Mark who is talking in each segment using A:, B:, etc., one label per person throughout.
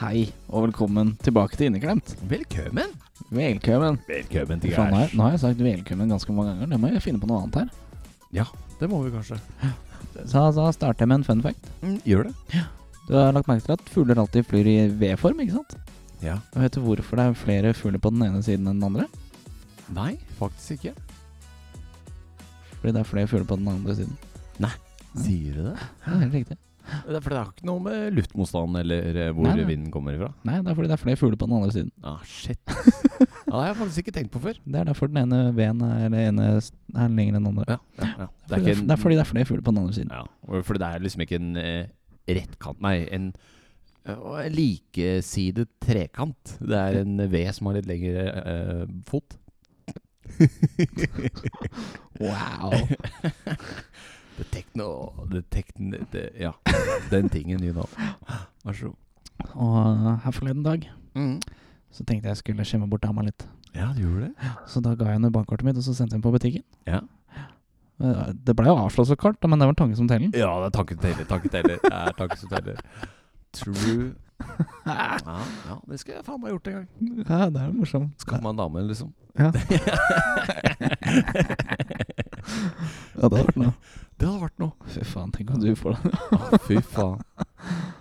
A: Hei og velkommen tilbake til Inneklemt.
B: Velkommen.
A: Velkommen.
B: Velkommen
A: Fy faen, Nå har- nå har jeg sagt velkommen ganske mange ganger. Det må jeg finne på noe annet her.
B: Ja, det må vi kanskje.
A: Så da starter jeg med en fun fact.
B: Mm, gjør det.
A: Du har lagt merke til at fugler alltid flyr i V-form, ikke sant?
B: Ja.
A: Og vet du hvorfor det er flere fugler på den ene siden enn den andre?
B: Nei, faktisk ikke.
A: Fordi det er flere fugler på den andre siden.
B: Sier du det?
A: Ja, helt riktig.
B: Det er fordi det har ikke noe med luftmotstand eller eh, hvor
A: Nei, nei.
B: vinden kommer ifra.
A: Nei, det er fordi det er flere fugler på den andre siden.
B: Ah, shit. ja, det har jeg faktisk ikke tenkt på før.
A: Det er derfor den ene V-en er, eller ene s- er lenger enn den andre.
B: Ja, ja, ja.
A: Det er,
B: en-
A: det er fordi det er flere fugler på den andre siden.
B: Ja, og fordi det er liksom ikke en eh, rettkant Nei, en eh, likesidet trekant. Det er en V som har litt lengre eh, fot.
A: Wow.
B: The techno The techn... The, ja, den tingen, you know. Vær så god.
A: Og her forleden dag
B: Mm.
A: så tenkte jeg skulle skjemme bort dama litt.
B: Ja, du gjorde det?
A: Så da ga jeg henne bankkortet mitt, og så sendte jeg den på butikken.
B: Ja.
A: Eh, Det blei jo avslått så kort, da, men det var tanken som teller.
B: Ja, det er tanken som teller. Tanken teller. Det er tanken som teller. True. Ja, ja, det skal jeg faen meg ha gjort en gang.
A: Ja, det er jo morsomt.
B: Skamme en dame, liksom.
A: Ja.
B: det
A: Ja, det hadde vært noe.
B: hadde vært noe.
A: Fy faen, tenk om du får det.
B: Å, fy faen.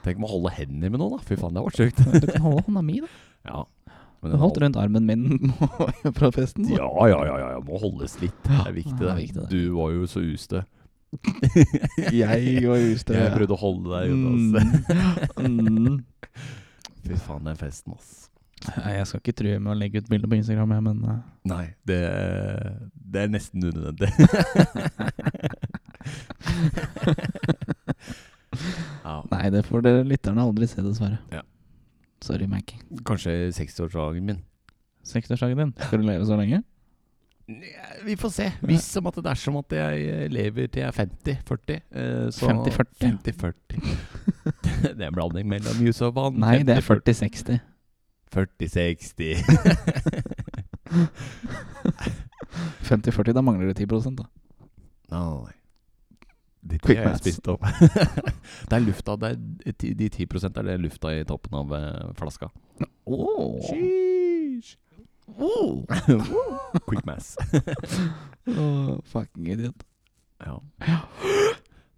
B: Tenk om å holde hendene med noen, da. Fy faen, det hadde vært sjukt.
A: Du kan holde hånda mi, da.
B: Ja.
A: Du
B: Men
A: holdt
B: den hold-
A: rundt armen min fra festen. så.
B: Ja, ja, ja, ja, ja. Må holdes litt. Det er viktig, det.
A: Ja, det
B: Er
A: er
B: viktig,
A: viktig, det.
B: Du var jo så ustø.
A: Jeg var ustø.
B: Jeg prøvde å holde deg unna. ass.
A: Mm. Mm.
B: Fy faen, den festen, altså. ass.
A: Nei, Jeg skal ikke true med å legge ut bilder på Instagram, jeg, men eh,
B: Nei, det, det er nesten unødvendig. ja,
A: Nei, det får dere lytterne aldri se, dessverre.
B: Ja.
A: Sorry, Mac.
B: kanskje 60-årsdagen min.
A: Seksårsdagen din, skal du leve så lenge?
B: Nja, Vi får se. Hvis som at det er som at jeg eh, lever til jeg er 50-40. eh, så-
A: 50-40.
B: 50-40. det er en blanding mellom jus og vann.
A: Nei, det er
B: 50-40.
A: 40-60.
B: 40-60.
A: 50-40, da mangler det 10 da.
B: Nei. De
A: Quick
B: ti har jeg
A: maths.
B: spist opp. det er lufta det er, ti- De 10 er det lufta i toppen av eh, flaska.
A: Oh.
B: Sheesh. Quick mass.
A: fucking idiot.
B: ja.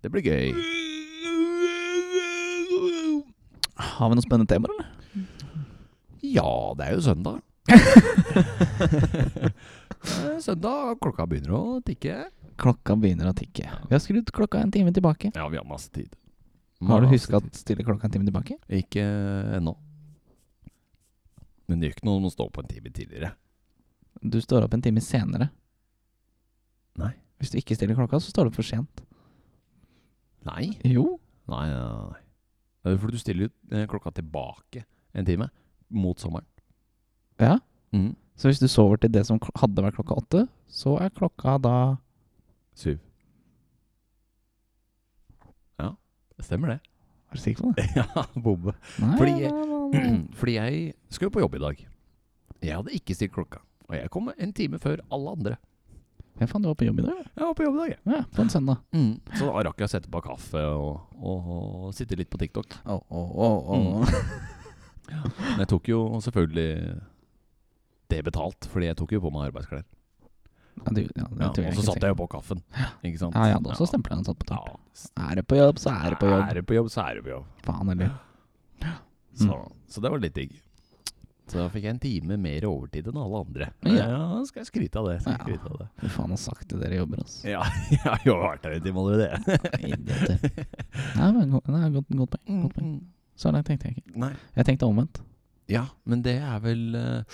B: Det blir gøy.
A: Har vi noen spennende temaer, eller?
B: Ja, det er jo søndag. Eh, søndag, klokka begynner å tikke.
A: Klokka begynner å tikke. Vi har skrudd klokka en time tilbake.
B: Ja, vi har masse tid.
A: Har du
B: Masse
A: huska å stille klokka en time tilbake?
B: tid. Ikke ennå. Men det gjør ikke noe om å stå på en time tidligere.
A: Du står opp en time senere.
B: Nei.
A: Hvis du ikke stiller klokka, så står du opp for sent.
B: Nei.
A: Jo.
B: Nei, nei, nei. Det er fordi du stiller ut eh, klokka tilbake en time mot sommeren.
A: Ja.
B: Mm.
A: Så hvis du sover til det som kl- hadde vært klokka åtte, så er klokka da
B: Syv. Ja, det stemmer det.
A: Er du sikker på det?
B: ja, bombe.
A: Nei,
B: Fordi-
A: nei, nei, nei.
B: fordi jeg skal jo på jobb i dag. Jeg hadde ikke stilt klokka. Og jeg kom en time før alle andre.
A: Hvem faen, du var på jobb i dag?
B: Jeg var på jobb i dag, jeg.
A: Ja, på en søndag.
B: Mm. Så da rakk jeg å sette på kaffe og, og, og sitte litt på TikTok.
A: Oh, oh, oh,
B: åh. Men jeg tok jo selvfølgelig det betalt, fordi jeg tok jo på meg arbeidsklær.
A: Ja, du, ja, det
B: Ja,
A: tror jeg
B: og så
A: ikke
B: satt
A: sikkert.
B: jeg jo på kaffen. Ikke sant?
A: Ja, jeg hadde også stempla den satt på topp.
B: Ja.
A: Er du på jobb, så er du på jobb.
B: Er du på jobb, så er du på jobb.
A: Faen eller
B: Så, så det var litt digg. Så da fikk jeg en time mer overtid enn alle andre.
A: Ja.
B: da skal jeg skryte av det. Skal jeg
A: Ja.
B: skryte av det.
A: Fy faen, har sagt det dere jobber, altså.
B: Ja, jeg har jo vært der en time allerede.
A: Idioter. Nei, men go- nei, godt, godt poeng. Godt
B: Mm.
A: poeng. Så langt tenkte jeg ikke.
B: Nei.
A: Jeg tenkte omvendt.
B: Ja, men det er vel eh,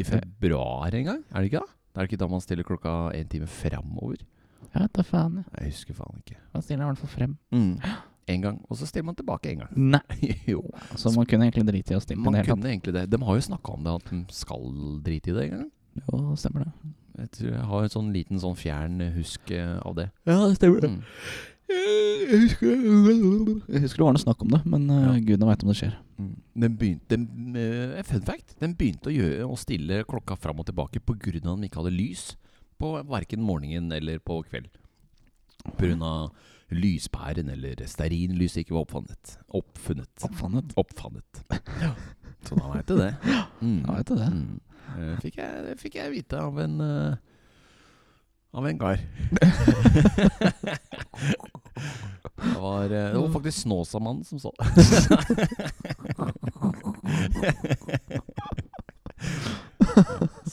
B: i februar en gang, er det ikke da? Det er det ikke da man stiller klokka en time framover?
A: Jeg vet da faen, jeg.
B: Jeg husker faen ikke.
A: Da stiller jeg i hvert fall frem.
B: Mm. En gang, og så stiller man tilbake en gang.
A: Nei.
B: jo,
A: Så man kunne egentlig drite i å stille i
B: man
A: det hele tatt.
B: kunne egentlig det. De har jo snakka om det, at de skal drite i det en gang.
A: Jo, stemmer det.
B: Jeg tror jeg har en sånn liten sånn fjern husk eh, av det.
A: Ja, det stemmer
B: Mm.
A: Jeg husker, jeg husker det var noe snakk om det, men uh, gudene veit om det skjer.
B: Mm. Den begynte den, eh, Fun fact. Den begynte å, gjøre, å stille klokka fram og tilbake pga. at den ikke hadde lys på verken morgenen eller på kveld. Pga. lyspæren eller stearinlyset ikke var oppfunnet. Oppfunnet.
A: Oppfannet.
B: Oppfannet. Så da veit du det. Mm.
A: Ja, vet du det.
B: Mm. Eh, Fikk jeg, det fikk jeg vite av en eh, Av en kar. det, var, eh, det var faktisk Snåsamannen som så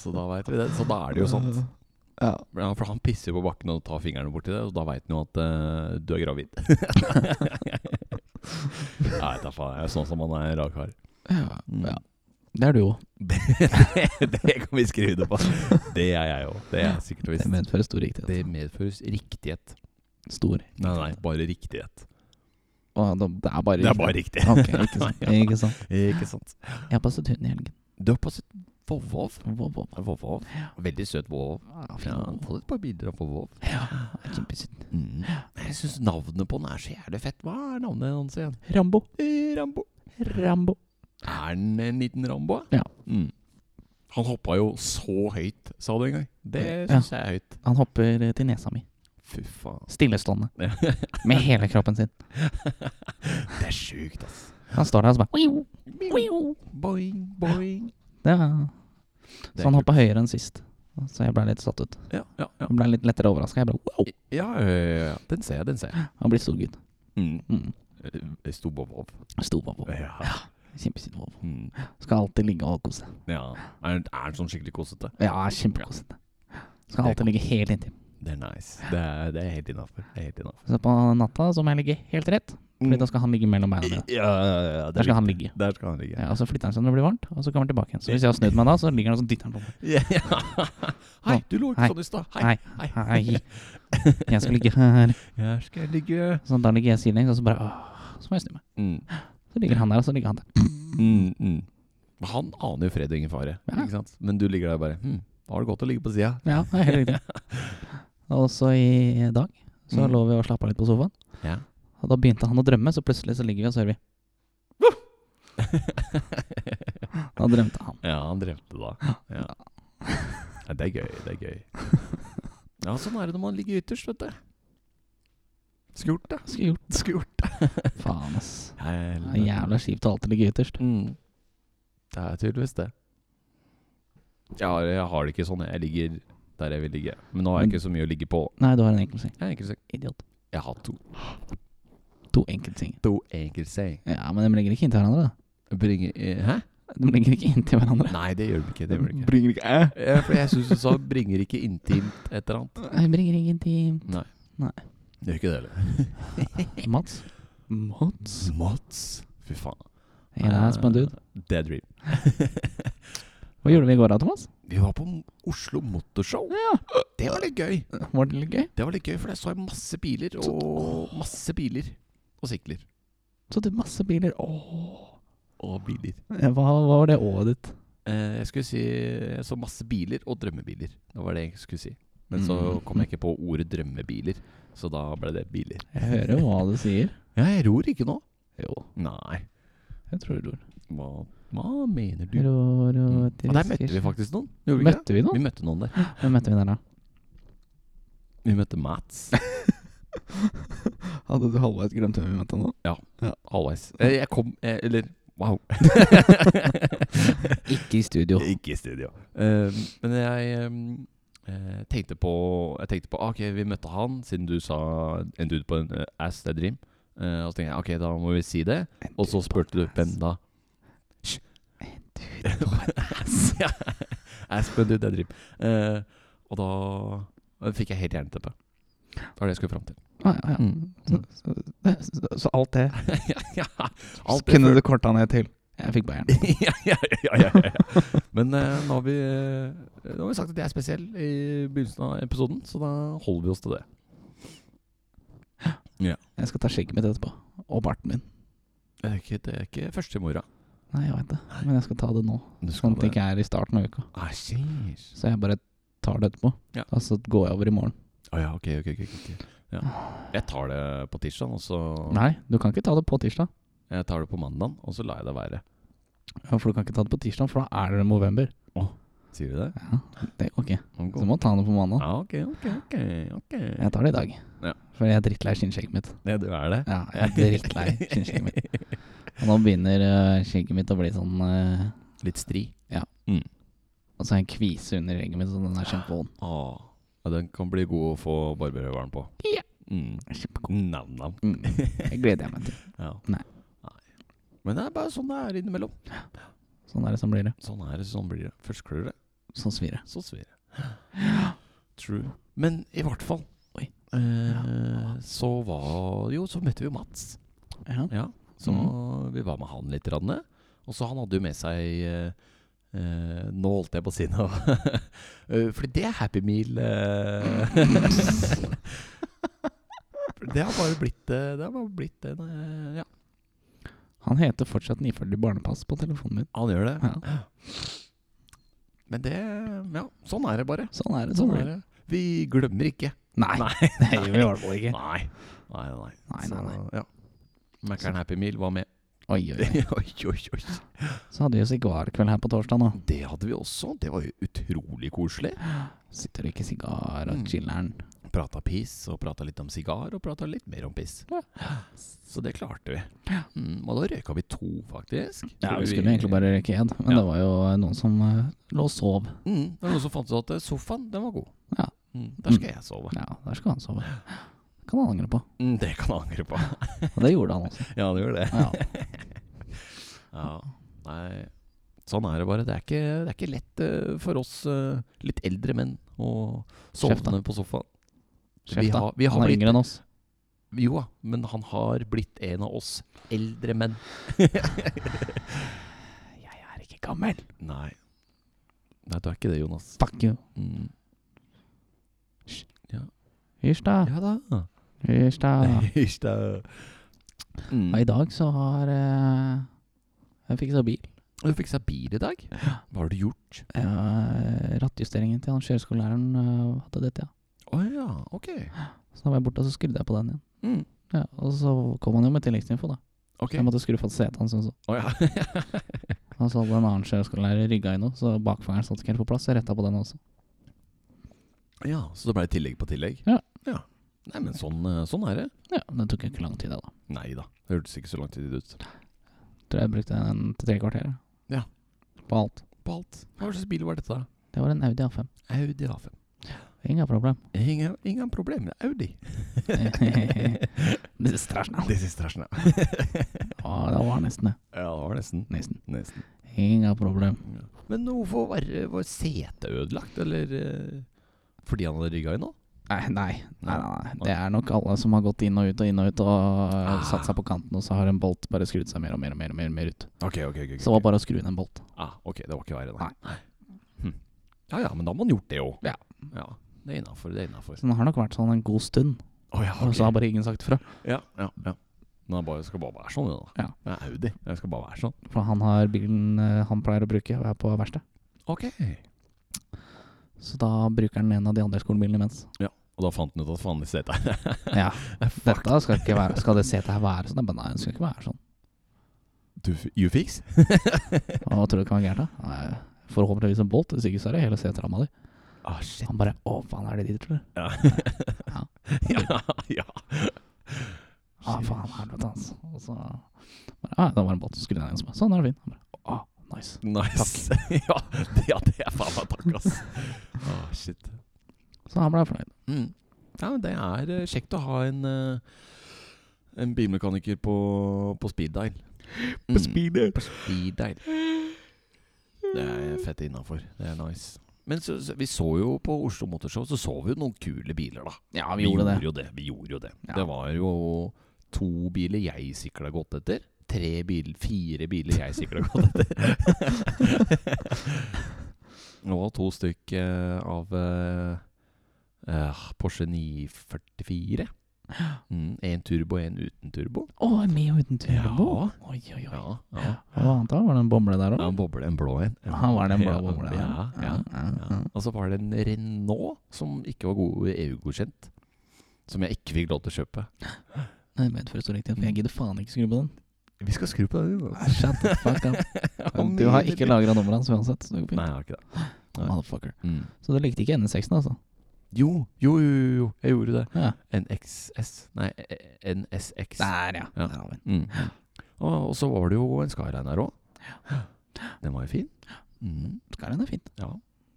B: Så da veit vi det. Så da er det jo sånn. sånt.
A: Eh, Ja.
B: Ja, for han pisser jo på bakken og tar fingrene borti det, og da veit han jo at eh, du er gravid. Nei, da faen. Jeg er sånn som han er en rar kar.
A: Ja.
B: Mm.
A: ja. Det er du jo.
B: Det, det kan vi skrive det på. Det er jeg òg. Det er sikkert og
A: Det
B: visst.
A: medfører stor riktighet.
B: Det medføres riktighet.
A: Stor.
B: Nei, nei, bare riktighet.
A: Og da- det er bare
B: Det er bare riktig.
A: Ok, ikke sant.
B: Ja.
A: Ikke sant.
B: Ikke sant.
A: Jeg har passet hund i helgen.
B: Du har passet Vovvov.
A: Wow, wow.
B: Vovvov. Veldig søt Vovvov.
A: Ja, fin
B: Ja, Mm.
A: vovvov.
B: fått et par bilder av Vovvov.
A: Ah, Ja, kjempesøt.
B: Jeg syns navnet på den er så jævlig fett. Hva er navnet hans igjen?
A: Rambo.
B: Eh, Rambo.
A: Rambo.
B: Er han en liten Rambo?
A: Ja.
B: Mm. Han hoppa jo så høyt, sa du en gang. Det
A: Ja.
B: syns jeg er høyt.
A: Han hopper eh, til nesa mi.
B: Fy faen.
A: Stillestående.
B: Ja.
A: Med hele kroppen sin.
B: Det er sjukt, ass.
A: Han står der og så bare «Wiu, wiu».
B: Boing, boing.
A: Det var- Så han hoppa høyere enn sist. Så jeg ble litt satt ut.
B: Ja, ja, ja.
A: Jeg ble litt lettere overraska. Jeg bare wow,
B: Ja, ja, ja, ja. Den ser jeg, den ser jeg.
A: han blir stor gutt.
B: Mm.
A: Mm.
B: Stor bob-bob.
A: Stor vovvo.
B: Ja.
A: Kjempesint vovvo.
B: Mm.
A: Skal alltid ligge og kose.
B: ja. Er, er den sånn skikkelig kosete?
A: Ja, kjempekosete. Skal alltid ligge helt inntil.
B: Det er nice. Det er, det er helt innafor. Helt innafor.
A: Så på natta så må jeg ligge helt rett, Fordi da skal han ligge mellom beina
B: Ja,
A: mine.
B: ja, ja, det
A: Der
B: er
A: skal han
B: viktig.
A: ligge.
B: Der skal han ligge.
A: Ja, og så flytter han seg når det blir varmt, og så kommer han tilbake igjen. Så hvis jeg har snudd meg da, så ligger han og så dytter han på meg.
B: Ja, ja. Hei, du lå
A: Hei.
B: ikke sånn i stad. Hei.
A: Hei, hei. Jeg skal ligge her.
B: Her skal jeg ligge.
A: Sånn, da ligger jeg sidelengs, og så bare åh, Så må jeg snu meg.
B: Mm.
A: Så ligger han der, og så ligger han der.
B: Mm, mm. Han aner jo fred og ingen fare,
A: Ja.
B: ikke sant? men du ligger der bare hm, Da har det godt å ligge på sida.
A: Ja, det er helt riktig. Og så i dag så
B: Mm.
A: lå vi og slappa litt på sofaen.
B: Ja.
A: Og da begynte han å drømme, så plutselig så ligger vi og så hører vi Da drømte han.
B: Ja, han drømte da. Ja. Ja, det er gøy, det er gøy. Ja, sånn er det når man ligger ytterst, vet du. Skurt, da.
A: Skulle gjort
B: Skurt.
A: Faen, ass. Det er jævla kjipt å alltid ligge ytterst.
B: Mm. Det er tydeligvis det. Jeg har, jeg har det ikke sånn. Jeg ligger der jeg vil ligge. Men nå har jeg
A: Men-
B: ikke så mye å ligge på.
A: Nei, du har en enkelseng.
B: Jeg, er ikke så-
A: Idiot.
B: jeg har to.
A: To enkeltsenger.
B: To enkeltseng.
A: Ja, men de ligger ikke inntil hverandre,
B: Bringer eh, Hæ?
A: da. De ligger ikke inntil hverandre.
B: Nei, det gjør det ikke. Det gjør det ikke.
A: Bringer ikke æ?
B: Ja, for jeg syns du sa 'bringer ikke intimt' et eller annet.
A: Jeg bringer ingenting.
B: Det gjør ikke det heller.
A: Mats? Mats?
B: Mats. Fy faen. Eh,
A: En ass på en dude.
B: Det er dream.
A: Hva gjorde vi i går da, Thomas?
B: Vi var på M- Oslo Motorshow. Det var litt gøy.
A: Var det litt gøy?
B: Det var litt gøy, for jeg så masse biler og masse biler. Og sykler.
A: Så du masse biler. Åh.
B: Og biler.
A: Hva, hva var det ået ditt?
B: Eh, jeg skulle si Jeg så masse biler og drømmebiler. Det var det jeg skulle si. Men så
A: Mm.
B: kom jeg ikke på ordet drømmebiler, så da ble det biler.
A: Jeg hører jo hva du sier.
B: Ja, jeg ror ikke nå.
A: Jo,
B: Nei.
A: jeg tror du ror.
B: Hva, hva mener du?
A: Ror
B: Mm.
A: og
B: Og der møtte vi faktisk noen. Gjorde vi ikke
A: Møtte vi
B: det? Vi
A: noen?
B: møtte noen der.
A: Hvem møtte vi der, da?
B: Vi møtte Mats.
A: Hadde du halvveis glemt hvem vi møtte nå?
B: Halvveis. Eh, Jeg kom eh, Eller wow.
A: Ikke i studio.
B: Ikke i studio. Eh, men jeg ehm, eh, tenkte på Jeg tenkte på ah, Ok, vi møtte han, siden du sa en dude på en eh, ass, det er dream. Eh, og så tenkte jeg ok, da må vi si det. Og så spurte du hvem da? Hysj. Ja. Ass på en dude, det er dream. Eh, og da fikk jeg helt jernteppe. Det var det jeg skulle fram til.
A: Ah, ja, ja.
B: Mm.
A: Så, så, så, så alt det
B: ja, ja.
A: Alt
B: Alt det
A: kunne
B: før-
A: du korta ned til. Jeg fikk bare jern.
B: ja, ja, ja, ja, ja, ja. Men eh, nå, har vi, eh, nå har vi sagt at jeg er spesiell i begynnelsen av episoden, så da holder vi oss til det.
A: Jeg skal ta skjegget mitt etterpå. Og barten min.
B: Det er ikke, det er ikke første i morgen.
A: Nei, jeg veit det. Men jeg skal ta det nå.
B: Du
A: Sånn at det ikke er i starten av uka.
B: Ah, sheesh.
A: Så jeg bare tar det etterpå.
B: Ja.
A: Og så går jeg over i morgen.
B: Å ja, ok, ok. ok, ok, ok. Ja. Jeg tar det på tirsdag, og så
A: Nei, du kan ikke ta det på tirsdag.
B: Jeg tar det på mandag, og så lar jeg det være.
A: Ja, For du kan ikke ta det på tirsdag, for da er det november.
B: Åh. Sier du det?
A: Ja, det går ikke.
B: Han
A: Så
B: går-
A: må jeg ta det på mandag.
B: Ja, ok, ok, ok. ok
A: Jeg tar det i dag.
B: Ja.
A: For jeg er drittlei skinnskjegget mitt.
B: Ja, du er det?
A: Ja, jeg er drittlei skinnskjegget mitt. Og nå begynner eh, skjegget mitt å bli sånn eh,
B: Litt stri.
A: Og så er en kvise under skjegget mitt, så den er kjempevond.
B: Ah. Ja, den kan bli god å få barberhøvelen på.
A: Ja.
B: Mm.
A: Kjempegod.
B: Nam-nam.
A: Mm. Det gleder jeg meg til.
B: Ja.
A: Nei.
B: Nei. Men det er bare sånn det er innimellom.
A: Sånn er det, sånn blir det.
B: Sånn er det, sånn blir det. Først klør det,
A: Sånn svir det.
B: så svir det. True. Men i hvert fall
A: Oi.
B: eh, så var Jo, så møtte vi jo Mats.
A: Ja.
B: Ja, så vi var med han litt. Ranne. Og så han hadde jo med seg eh, eh, Nå holdt jeg på å si noe. Eh, Fordi det er Happy Meal. eh. det har bare blitt eh, Det har bare blitt en eh, Ja,
A: Han heter fortsatt Nifølge barnepass på telefonen min.
B: han gjør det.
A: Ja.
B: Men det Ja, sånn er det bare.
A: Sånn er det.
B: Sånn
A: blir
B: er det. Vi glemmer ikke.
A: Nei, det gjør vi i hvert fall ikke.
B: Nei. Nei, nei.
A: Nei, nei, nei.
B: Så, ja. Mækkern Happy Meal var med.
A: Oi, oi, oi.
B: oi, oi, oi.
A: Så hadde vi jo sigarkveld her på torsdag nå.
B: Det hadde vi også. Det var jo utrolig koselig.
A: Sitter og røyker sigar og
B: Mm.
A: chiller'n.
B: Prata piss, og prata litt om sigar, og prata litt mer om piss.
A: Ja.
B: Så det klarte vi. Mm, og da røyka vi to, faktisk.
A: Ja, vi skulle egentlig bare røyke ed, men
B: Ja.
A: det var jo noen som eh, lå og sov.
B: mm, Det var noen som fant ut at eh, sofaen, den var god.
A: Ja.
B: Mm, der skal jeg sove.
A: Ja, der skal han sove. Kan han angre på.
B: Mm, det kan jeg angre på.
A: Og det gjorde han også.
B: ja, det gjør det.
A: Ja.
B: Ja. Nei, sånn er det bare. Det er ikke, det er ikke lett eh, for oss eh, litt eldre menn å
A: Kjeft, da.
B: sovne på sofaen.
A: Sjef, da.
B: har- vi har
A: han er
B: blitt-
A: yngre enn oss.
B: Jo da, men han har blitt en av oss eldre menn.
A: Jeg er ikke gammel.
B: Nei. Nei, du er ikke det, Jonas.
A: Fuck you.
B: Mm.
A: Hysj, da.
B: Ja da.
A: Hysj, da.
B: Hysj, da. Ah, Mm.
A: Og I dag så har eh, jeg fiksa bil.
B: Du fikk seg bil i dag? Hva har du gjort?
A: Eh, rattjusteringen til han kjøreskolelæreren eh, hadde dette, ja.
B: Å ja, ok.
A: Så da var jeg borte, og så skrudde jeg på den igjen.
B: Mm.
A: Ja, og så kom han jo med tilleggsinfo, da.
B: Ok.
A: Så jeg måtte skru sånn, fast setet hans også.
B: Å ja.
A: Og så hadde en annen kjøreskolelærer rygga i noe, så bakfangeren satt ikke helt på plass. Så jeg retta på den også.
B: ja, så det ble tillegg på tillegg?
A: Ja.
B: Nei, men sånn, eh, sånn er det.
A: Ja, Det tok ikke lang tid, det, da.
B: Nei da. Det hørtes ikke så lang tid ut.
A: Tror jeg brukte en til tre kvarter.
B: Ja.
A: På alt.
B: På alt. Hva slags bil var dette?
A: Det var en Audi A5.
B: Audi A5.
A: Ingen problem.
B: Ingen, ingen problem, det er Audi.
A: Det er strasjen.
B: Det siste rasjen, ja.
A: Ja, det var nesten det.
B: Ja, det var nesten.
A: Nesten.
B: Nesten.
A: Ingen problem.
B: Men hvorfor var, var setet ødelagt, eller eh, Fordi han hadde rygga i nå?
A: Nei, nei, nei, nei, nei. Det er nok alle som har gått inn og ut og inn og ut og
B: Ah.
A: eh, satt seg på kanten, og så har en bolt bare skrudd seg mer og mer og mer og mer, og mer ut.
B: Ok, ok, ok.
A: Så det var bare å skru inn en bolt.
B: ah, ok, det var ikke verre, nei. Hm. Ja ja, men da har man gjort det òg.
A: Ja.
B: ja. Det er innafor, det er innafor.
A: Så den har nok vært sånn en god stund,
B: Å ja,
A: og så har bare ingen sagt fra.
B: ja, ja, ja. Men jeg bare, skal bare være sånn, jeg, da.
A: Ja.
B: Jeg er Audi. Jeg skal bare være sånn.
A: For han har bilen eh, han pleier å bruke, og er på verksted.
B: Ok.
A: Så da bruker han en av de andre skolebilene imens.
B: Og da fant han ut at faen, det setet her
A: Ja, dette skal ikke være Skal det setet her være sånn? Jeg bare, Nei, det skal ikke være sånn.
B: Du, f- You fix?
A: Og hva tror du det kan være gærent, da? Nei, Forhåpentligvis en bolt, hvis ikke så er det hele seteramma di.
B: Ah, shit.
A: Han bare Å, faen, er det de, tror du?
B: Ja.
A: Ja.
B: ja, ja.
A: Å, faen, helvete, altså. Og så bare Ja, det var en bolt. Skru den igjen. så bare, Sånn, er det fin. Han bare Å, nice.
B: Nice. ja, det, ja, det er faen meg takk, ass. Ah, shit.
A: Så han ble fornøyd.
B: Mm. Ja, men det er eh, kjekt å ha en, eh, en bilmekaniker på, på speed dial. Mm, På speed dial. Det er fett innafor. Det er nice. Men så, så, vi så jo på Oslo Motorshow Så så vi jo noen kule biler, da.
A: Ja, vi gjorde det.
B: jo det. Vi gjorde jo det.
A: Ja.
B: Det var jo to biler jeg sikla godt etter. Tre biler, fire biler jeg sikla godt etter. Og to stykk eh, av eh, eh, Porsche 944. Mm, en turbo, en uten turbo.
A: Å, med og uten turbo? Oi, oi, oi.
B: Ja, ja.
A: Hva annet da? Var det en boble der
B: Ja,
A: òg?
B: En boble, en blå en. En-
A: Han var det en blå
B: Ja,
A: boble der.
B: Ja, ja, ja.
A: ja.
B: Og så var det en Renault som ikke var god EU-godkjent. Som jeg ikke fikk lov til å kjøpe.
A: Nei, men for å stå riktig, for jeg gidder faen ikke skru på den.
B: Vi skal skru på den.
A: Nei, Shut the fuck up. Du har ikke lagra nummeret hans uansett. Så det går fint.
B: Nei, jeg har ikke det. Nei.
A: Motherfucker.
B: Mm.
A: Så du likte ikke NS6-en, altså?
B: Jo, jo, jo, jo, jo, jeg gjorde det.
A: Ja.
B: NXS Nei, eh, NSX.
A: Der, ja.
B: Ja.
A: Der har vi den.
B: Mm. Og, og så var det jo en Skyline her òg. Den var jo fin. Mm.
A: Skarren er fint.
B: Ja.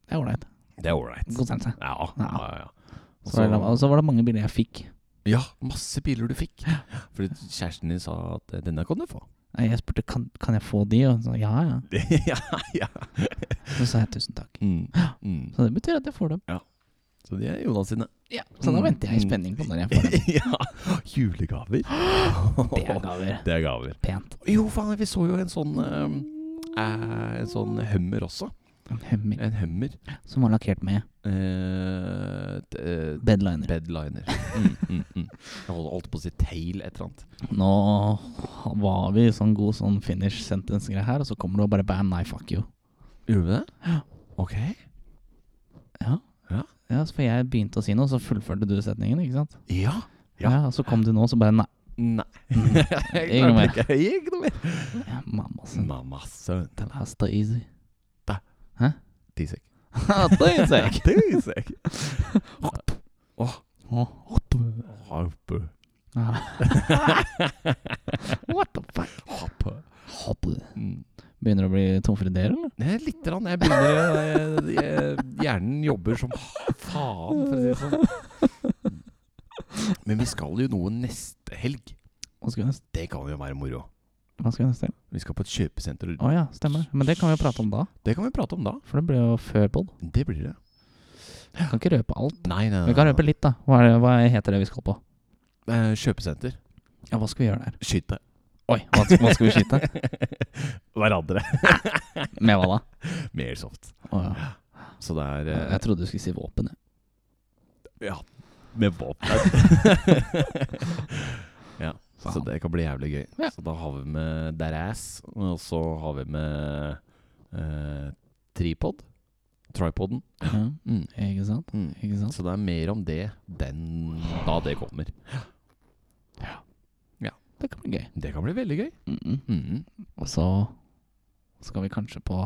A: Det er ålreit.
B: Det er ålreit.
A: God sense.
B: Ja, ja, ja. ja. Og
A: Så var det-
B: så-
A: Og så var det mange biler jeg fikk.
B: ja, masse biler du fikk. Fordi kjæresten din sa at eh, 'denne kan du få'.
A: Nei, Jeg spurte kan, kan jeg få de, og så ja ja.
B: ja, ja.
A: Så sa jeg tusen takk.
B: Mm. Mm.
A: Så det betyr at jeg får dem.
B: Så de er Jonas sine.
A: Ja, Så da
B: Mm.
A: venter jeg i
B: Mm.
A: spenning på når jeg får dem.
B: ja, julegaver.
A: Det er gaver.
B: Det er gaver.
A: Pent.
B: Jo, faen, vi så jo en sånn eh, eh, En sånn Hummer også.
A: En Hummer
B: En Hummer.
A: som var lakkert med
B: Eh, d- eh,
A: bedliner.
B: bedliner. Mm, mm, mm. Jeg holdt holdt på å si tail et eller annet.
A: Nå var vi i sånn god sånn finish sentence-greie her, og så kommer du og bare bam, nei, fuck you.
B: Gjorde vi det? Ok.
A: Ja, så For jeg begynte å si noe, så fullførte du setningen, ikke sant?
B: Ja. Ja.
A: Ja, og Så kom du nå, så bare nei.
B: Nei.
A: Ikke noe mer.
B: Jeg klarte ikke- jeg Ikke noe mer.
A: Ja, Mamma sin.
B: Mamma søren. Den
A: That's the easy.
B: Tisek.
A: That's easy.
B: Tisek. Åh.
A: Åh.
B: Harpe.
A: What the fuck?
B: Harpe.
A: Hoppe.
B: Mm.
A: Begynner du å bli tom for ideer, eller?
B: Nei, Litt. Rann. Jeg begynner jeg, jeg, Hjernen jobber som faen, for å si det sånn. Men vi skal jo noe neste helg.
A: Hva skal vi neste,
B: Det kan jo være moro.
A: hva skal vi neste til?
B: Vi skal på et kjøpesenter.
A: Å ja, stemmer. Men det kan vi jo prate om da.
B: Det kan vi prate om da.
A: For det blir jo før pod.
B: Det blir det.
A: Kan ikke røpe alt.
B: Nei, nei,
A: Vi kan røpe litt, da. Hva, er det, hva heter det vi skal på?
B: Eh, kjøpesenter.
A: Ja, hva skal vi gjøre der?
B: Skyte.
A: Oi, hva, hva skal vi skyte?
B: Hverandre.
A: Med hva da?
B: Med airsoft.
A: Å, ja.
B: Så det er eh,
A: Jeg trodde du skulle si våpen. jeg.
B: Ja. Med våpen. ja. Så
A: Faen.
B: det kan bli jævlig gøy.
A: Ja.
B: Så da har vi med Their Ass, og så har vi med eh, Tripod. Tripoden.
A: Ja.
B: Mm.
A: Ikke sant?
B: Mm.
A: Ikke sant?
B: Så det er mer om det den da det kommer.
A: Det kan bli gøy.
B: Det kan bli veldig gøy.
A: Mm -mm.
B: Mm.
A: Og så skal vi kanskje på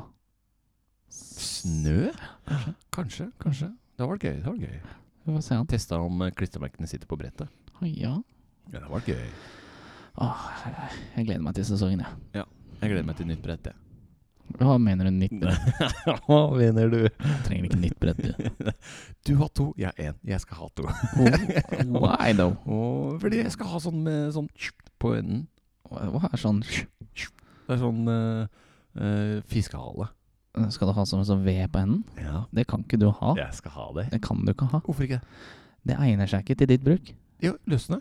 B: Snø? Kanskje. Kanskje. Det har vært gøy. det har vært gøy
A: Vi får se an.
B: Testa om eh, klistremerkene sitter på brettet.
A: Å, Ja.
B: Ja, det har vært gøy.
A: Åh, jeg gleder meg til sesongen, jeg.
B: Jeg gleder meg til nytt brett, jeg.
A: Hva mener du nytt brett?
B: Hva mener du?
A: Jeg trenger ikke nytt brett, du.
B: Du har to, jeg har én. Jeg skal ha to.
A: Oh, why though?
B: Og fordi jeg skal ha sånn med sånn på enden.
A: Hva er sånn
B: Det er sånn eh, eh, fiskehale.
A: Skal du ha sånn sånn ved på enden?
B: Ja,
A: Det kan ikke du ha.
B: jeg skal ha det.
A: Det kan du ikke ha.
B: Hvorfor ikke?
A: Det egner seg ikke til ditt bruk.
B: Jo, løsne.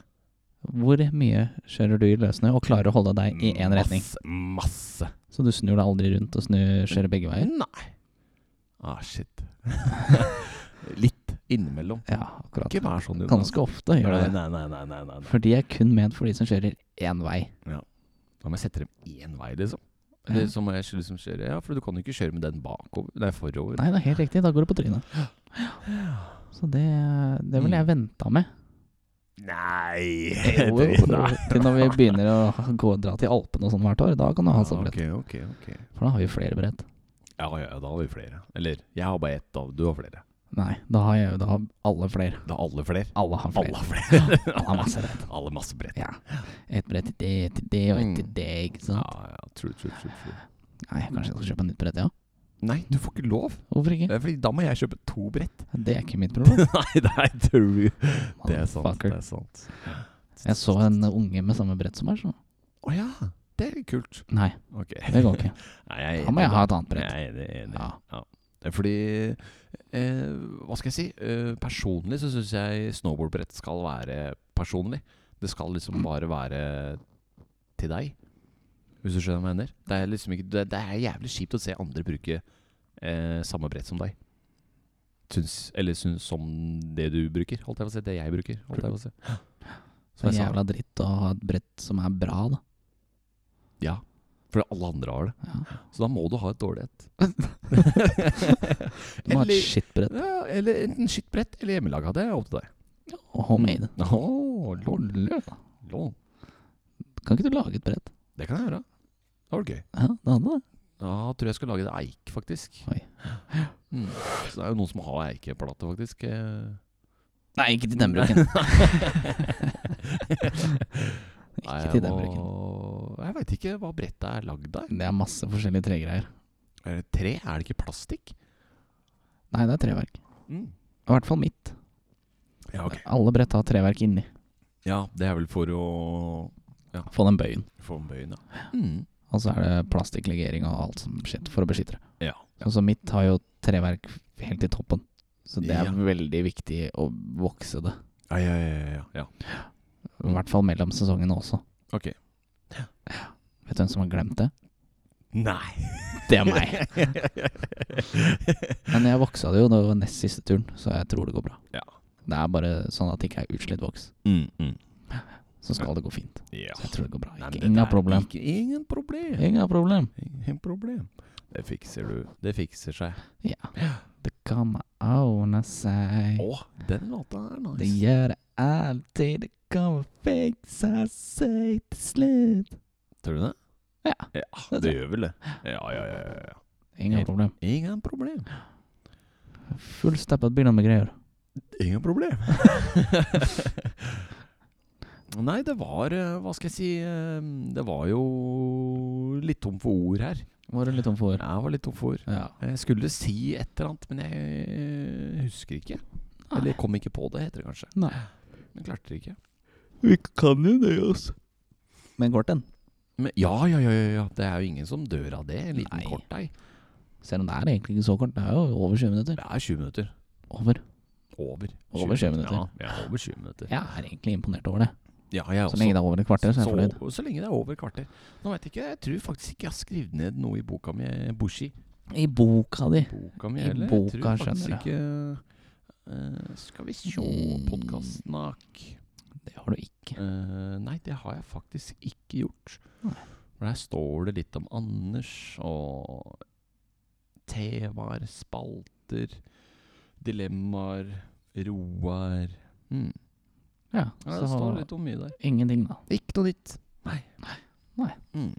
A: Hvor mye kjører du i løssnø og klarer å holde deg
B: Mm,
A: i én retning?
B: Masse. Masse.
A: Så du snur deg aldri rundt og snur, kjører begge veier?
B: Nei. Ah, shit. Litt innimellom.
A: Ja, akkurat.
B: Ikke vær sånn, Jonas.
A: Ganske ofte gjør
B: Nei,
A: du det.
B: nei, nei, nei, nei, nei, nei.
A: For de er kun ment for de som kjører én vei.
B: Da må jeg sette dem én vei, liksom. Eller så må jeg liksom kjøre Ja, for du kan jo ikke kjøre med den bakover. Nei, forover.
A: Nei, det er helt riktig. Da går du på trynet. Så det, det ville jeg venta med.
B: Nei!
A: Jo, jo, Til når vi begynner å gå, dra til Alpene og sånn hvert år. Da kan du ha sånn brett.
B: Ok, ok, ok.
A: For da har vi flere brett.
B: Ja, ja, ja, da har vi flere. Eller, jeg har bare ett, da. Du har flere.
A: Nei, da har jeg da har alle flere.
B: Da har alle flere.
A: Alle har
B: Alle
A: flere.
B: har flere.
A: Alle har masse brett.
B: alle masse brett.
A: Ja. Et brett til det, til det og et til
B: Mm.
A: det, ikke
B: Ja,
A: sant.
B: ja, true, true, true, true.
A: Nei, kanskje jeg skal kjøpe nytt brett, ja.
B: Nei, du får ikke lov.
A: Hvorfor ikke?
B: Det er fordi da må jeg kjøpe to brett.
A: Det er ikke mitt problem.
B: Nei, det er true. Det er sant.
A: Motherfucker.
B: Det er sant.
A: Jeg så en unge med samme brett som meg, så
B: Å ja. Det er litt kult.
A: Nei,
B: Ok.
A: det går ikke.
B: Nei, jeg er
A: Da må
B: enig
A: jeg ha et annet brett.
B: Jeg er enig. enig.
A: Ja.
B: Det er Fordi eh, Hva skal jeg si? Eh, personlig så syns jeg snowboardbrett skal være personlig. Det skal liksom bare være til deg, hvis du skjønner hva jeg mener. Det er liksom ikke Det, det er jævlig kjipt å se andre bruke eh, samme brett som deg. Syns, eller syns som det du bruker, holdt jeg på å si. Det jeg bruker, holdt jeg på å si.
A: Så
B: Som jeg sa.
A: jævla dritt å ha et brett som er bra, da.
B: Ja. For alle andre har det.
A: Ja.
B: Så da må du ha et dårlig et.
A: Du må ha et
B: Eller-
A: skittbrett.
B: Ja, eller enten skittbrett eller hjemmelaga. Det er opp til deg.
A: Og homemade.
B: Åh, lol, lol.
A: Kan ikke du lage et brett?
B: Det kan jeg gjøre. Det var gøy.
A: Ja, det hadde det.
B: Ja, tror jeg skal lage det eik, faktisk.
A: Oi.
B: Mm. Så det er jo noen som har eikeplate, faktisk. eh.
A: Nei, ikke til den bruken.
B: Nei,
A: ikke
B: jeg
A: til den
B: må-
A: bruken.
B: Jeg veit ikke hva brettet er lagd av.
A: Det er masse forskjellige tregreier.
B: Er det tre? Er det ikke plastikk?
A: Nei, det er treverk.
B: Mm.
A: I hvert fall mitt.
B: Ja, ok.
A: Alle brett har treverk inni.
B: Ja, det er vel for å
A: Få den bøyen.
B: få en bøyen, ja. Mm.
A: Og så er det plastikklegering og alt som shit for å beskytte det.
B: Ja.
A: Sånn som mitt har jo treverk helt i toppen. Så det er
B: Ja.
A: veldig viktig å vokse det.
B: Ja, ja, ja, ja, ja.
A: I hvert fall mellom sesongene også.
B: Ok.
A: Vet du hvem som har glemt det?
B: Nei.
A: Det er meg. Men jeg voksa det jo da det var nest siste turen, så jeg tror det går bra.
B: Ja.
A: Det er bare sånn at det ikke er utslitt voks.
B: Mm, mm.
A: Så skal det gå fint.
B: Ja.
A: Så jeg tror det går bra.
B: Nei, men
A: Ikke,
B: dette
A: ingen
B: er
A: problem.
B: Ikke, ingen problem.
A: Ingen problem.
B: Ingen problem. Det fikser du. Det fikser seg.
A: Det kommer ordne seg.
B: Å, den låta er
A: Det
B: nice.
A: gjør det alltid. Det kommer fikse seg til slutt.
B: Tror du det?
A: Ja,
B: ja
A: tror
B: det
A: jeg.
B: gjør vel det. Ja, ja, ja. ja, ja.
A: Ingen
B: Helt-
A: problem.
B: Ingen problem.
A: Fullstappet biler med greier.
B: Ingen problem. Nei, det var eh, Hva skal jeg si eh, Det var jo litt tom for ord her.
A: Var du litt tom for?
B: Jeg var litt tom for ord.
A: Ja.
B: Jeg skulle si et eller annet, men jeg eh, husker ikke. Eller kom ikke på det, heter det kanskje.
A: Nei.
B: Jeg klarte det ikke.
A: Vi kan jo det, altså. Men kort den.
B: Men ja, ja, ja, ja, ja. Det er jo ingen som dør av det. En liten
A: Nei.
B: kort ei.
A: Selv om det er egentlig ikke så kort. Det er jo over 20 minutter.
B: Det er 20 minutter.
A: Over.
B: Over.
A: Over 20 minutter.
B: Ja, vi er over 20 minutter.
A: Jeg er egentlig imponert over det.
B: Ja, jeg er
A: Så
B: også.
A: lenge det er over et kvarter, så er jeg fornøyd.
B: Så, så lenge det er over kvarter. Nå vet jeg ikke, jeg tror faktisk ikke jeg har skrevet ned noe i boka mi, Bushi.
A: I boka di.
B: Boka mi,
A: I
B: eller?
A: boka,
B: jeg tror
A: skjønner
B: faktisk ikke Eh, Skal vi sjå
A: Mm.
B: podkastnak
A: Det har du ikke.
B: Eh, Nei, det har jeg faktisk ikke gjort.
A: Nei.
B: For der står det litt om Anders og temaer, spalter, dilemmaer, Roar mm.
A: Ja,
B: ja,
A: så
B: Det står litt om mye der.
A: ingenting, da.
B: Ikke noe nytt. Nei.
A: Nei.
B: Mm.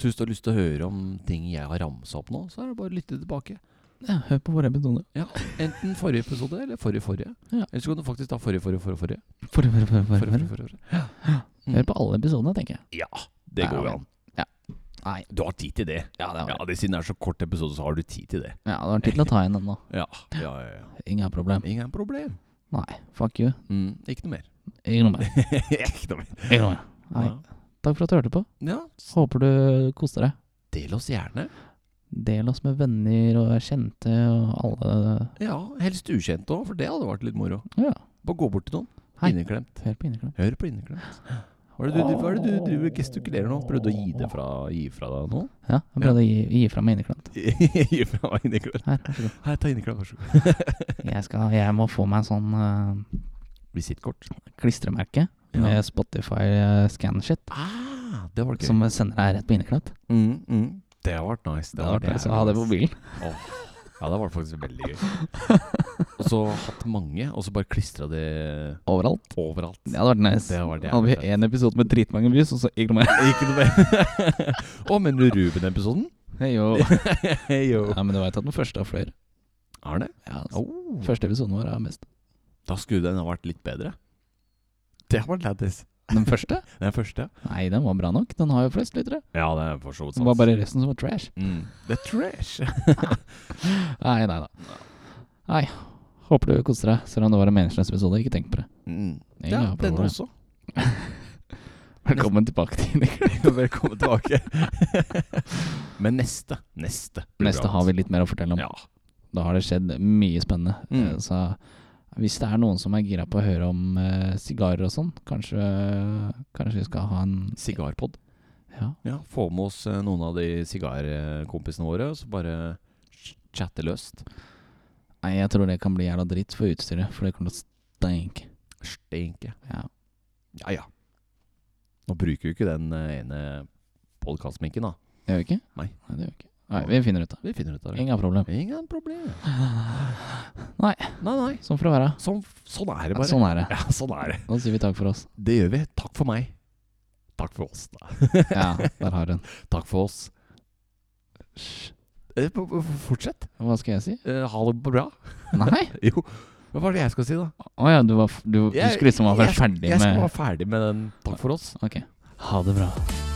B: Så hvis du har lyst til å høre om ting jeg har ramsa opp nå, så er det bare å lytte tilbake.
A: Ja, hør på våre episoder.
B: Ja, Enten forrige episode eller forrige forrige.
A: Ja.
B: Eller så kan du faktisk ta forrige forrige forrige. forrige.
A: For, for, for, for,
B: forrige,
A: for.
B: forrige, forrige. Mm.
A: Hør på alle episodene, tenker jeg.
B: Ja, det
A: Der
B: går
A: har
B: jo
A: vi
B: an.
A: den. Ja. Nei.
B: Du har tid til det.
A: Ja, det har
B: Ja,
A: jeg.
B: det Siden det er så kort episode, så har du tid til det.
A: Ja, det var tid til å ta igjen den nå.
B: Ja, ja, ja, ja.
A: Ingen problem.
B: Ingen problem.
A: Nei, fuck you.
B: Mm. Ikke noe mer.
A: Ikke noe mer.
B: Ikke noe mer.
A: Ikke noe mer. Nei.
B: Ja.
A: Takk for at du hørte på.
B: ja,
A: Håper du koste deg.
B: del oss gjerne.
A: Del oss med venner og kjente og alle
B: Ja, Helst ukjente òg, for det hadde vært litt moro.
A: Ja,
B: Bare gå bort til noen.
A: Hei.
B: Inneklemt.
A: hør på Inneklemt.
B: Hør på inneklemt. Hva er det du, hva er det du driver og gestikulerer nå? Prøvde å gi det fra, gi fra deg nå?
A: Ja, jeg prøvde å gi, gi fra meg Inneklemt.
B: gi fra meg inneklemt.
A: Her, vær så god.
B: Her, ta inneklemt, vær så god.
A: Jeg, skal, jeg må få meg sånn eh,
B: Visittkort.
A: klistremerke
B: Ja.
A: med Spotify-scan-shit.
B: Ah, det var gøy.
A: Som sender deg rett på inneklemt.
B: mm, mm. Det har vært nice.
A: Det hadde vært nice å ha det på bilen.
B: Ja, det var faktisk veldig gøy. Og så hatt mange, og så bare klistra det
A: Overalt.
B: overalt.
A: Det hadde vært nice.
B: Det hadde vært jævlig
A: hadde vi
B: fett.
A: en episode med dritmange views, og så ikke noe mer.
B: Ikke noe mer. Å, mener du Ruben-episoden?
A: Hei, jo.
B: jo.
A: Ja, men du veit at den første av flere.
B: Er det?
A: Ja, altså,
B: Oh.
A: Første episoden vår er mest.
B: Da skulle den ha vært litt bedre. Det var lættis.
A: Den første?
B: Den første.
A: Nei, den var bra nok. Den har jo flest lyttere.
B: Ja, det er for så vidt
A: Det var bare resten som var trash.
B: mm. The trash.
A: Nei, nei da. Nei. Håper du koser deg, selv om det var en meningsløs episode. Ikke tenk på det.
B: Mm.
A: Ingen har problem.
B: også.
A: Velkommen tilbake til
B: Velkommen tilbake. Men neste, neste blir
A: Neste
B: bra.
A: har vi litt mer å fortelle om.
B: Ja.
A: Da har det skjedd mye spennende.
B: Mm.
A: Eh, Så hvis det er noen som er gira på å høre om eh, sigarer og sånn, kanskje, kanskje vi skal ha en
B: Sigarpod.
A: Ja.
B: Ja, få med oss eh, noen av de sigarkompisene våre, og så bare ch- chatte løst.
A: Nei, jeg tror det kan bli jævla dritt for utstyret, for det kommer til å stenke.
B: Stinke.
A: Ja.
B: Ja, ja. Nå bruker vi ikke den eh, ene podkastminken, da.
A: Det gjør vi ikke?
B: Nei.
A: det gjør vi ikke. Nei, vi finner ut av det.
B: Vi finner ut av det.
A: Ingen problem.
B: Ingen problem.
A: Nei.
B: Nei, nei.
A: Sånn får det være.
B: Sånn, sånn er det
A: Ja,
B: bare.
A: sånn er det.
B: Ja, sånn er det.
A: Da sier vi takk for oss.
B: Det gjør vi. Takk for meg. Takk for oss, da.
A: Ja, der har hun.
B: Takk for oss. Eh, p- p- Fortsett.
A: Hva skal jeg si?
B: Eh, Ha det bra.
A: Nei?
B: Jo. Hva var det jeg skal si, da?
A: Å ja, du, var, f- du, du
B: Jeg-
A: skulle liksom være
B: jeg-
A: ferdig
B: Jeg skal
A: med
B: være ferdig med den. Takk for oss.
A: Ok. Ha det bra.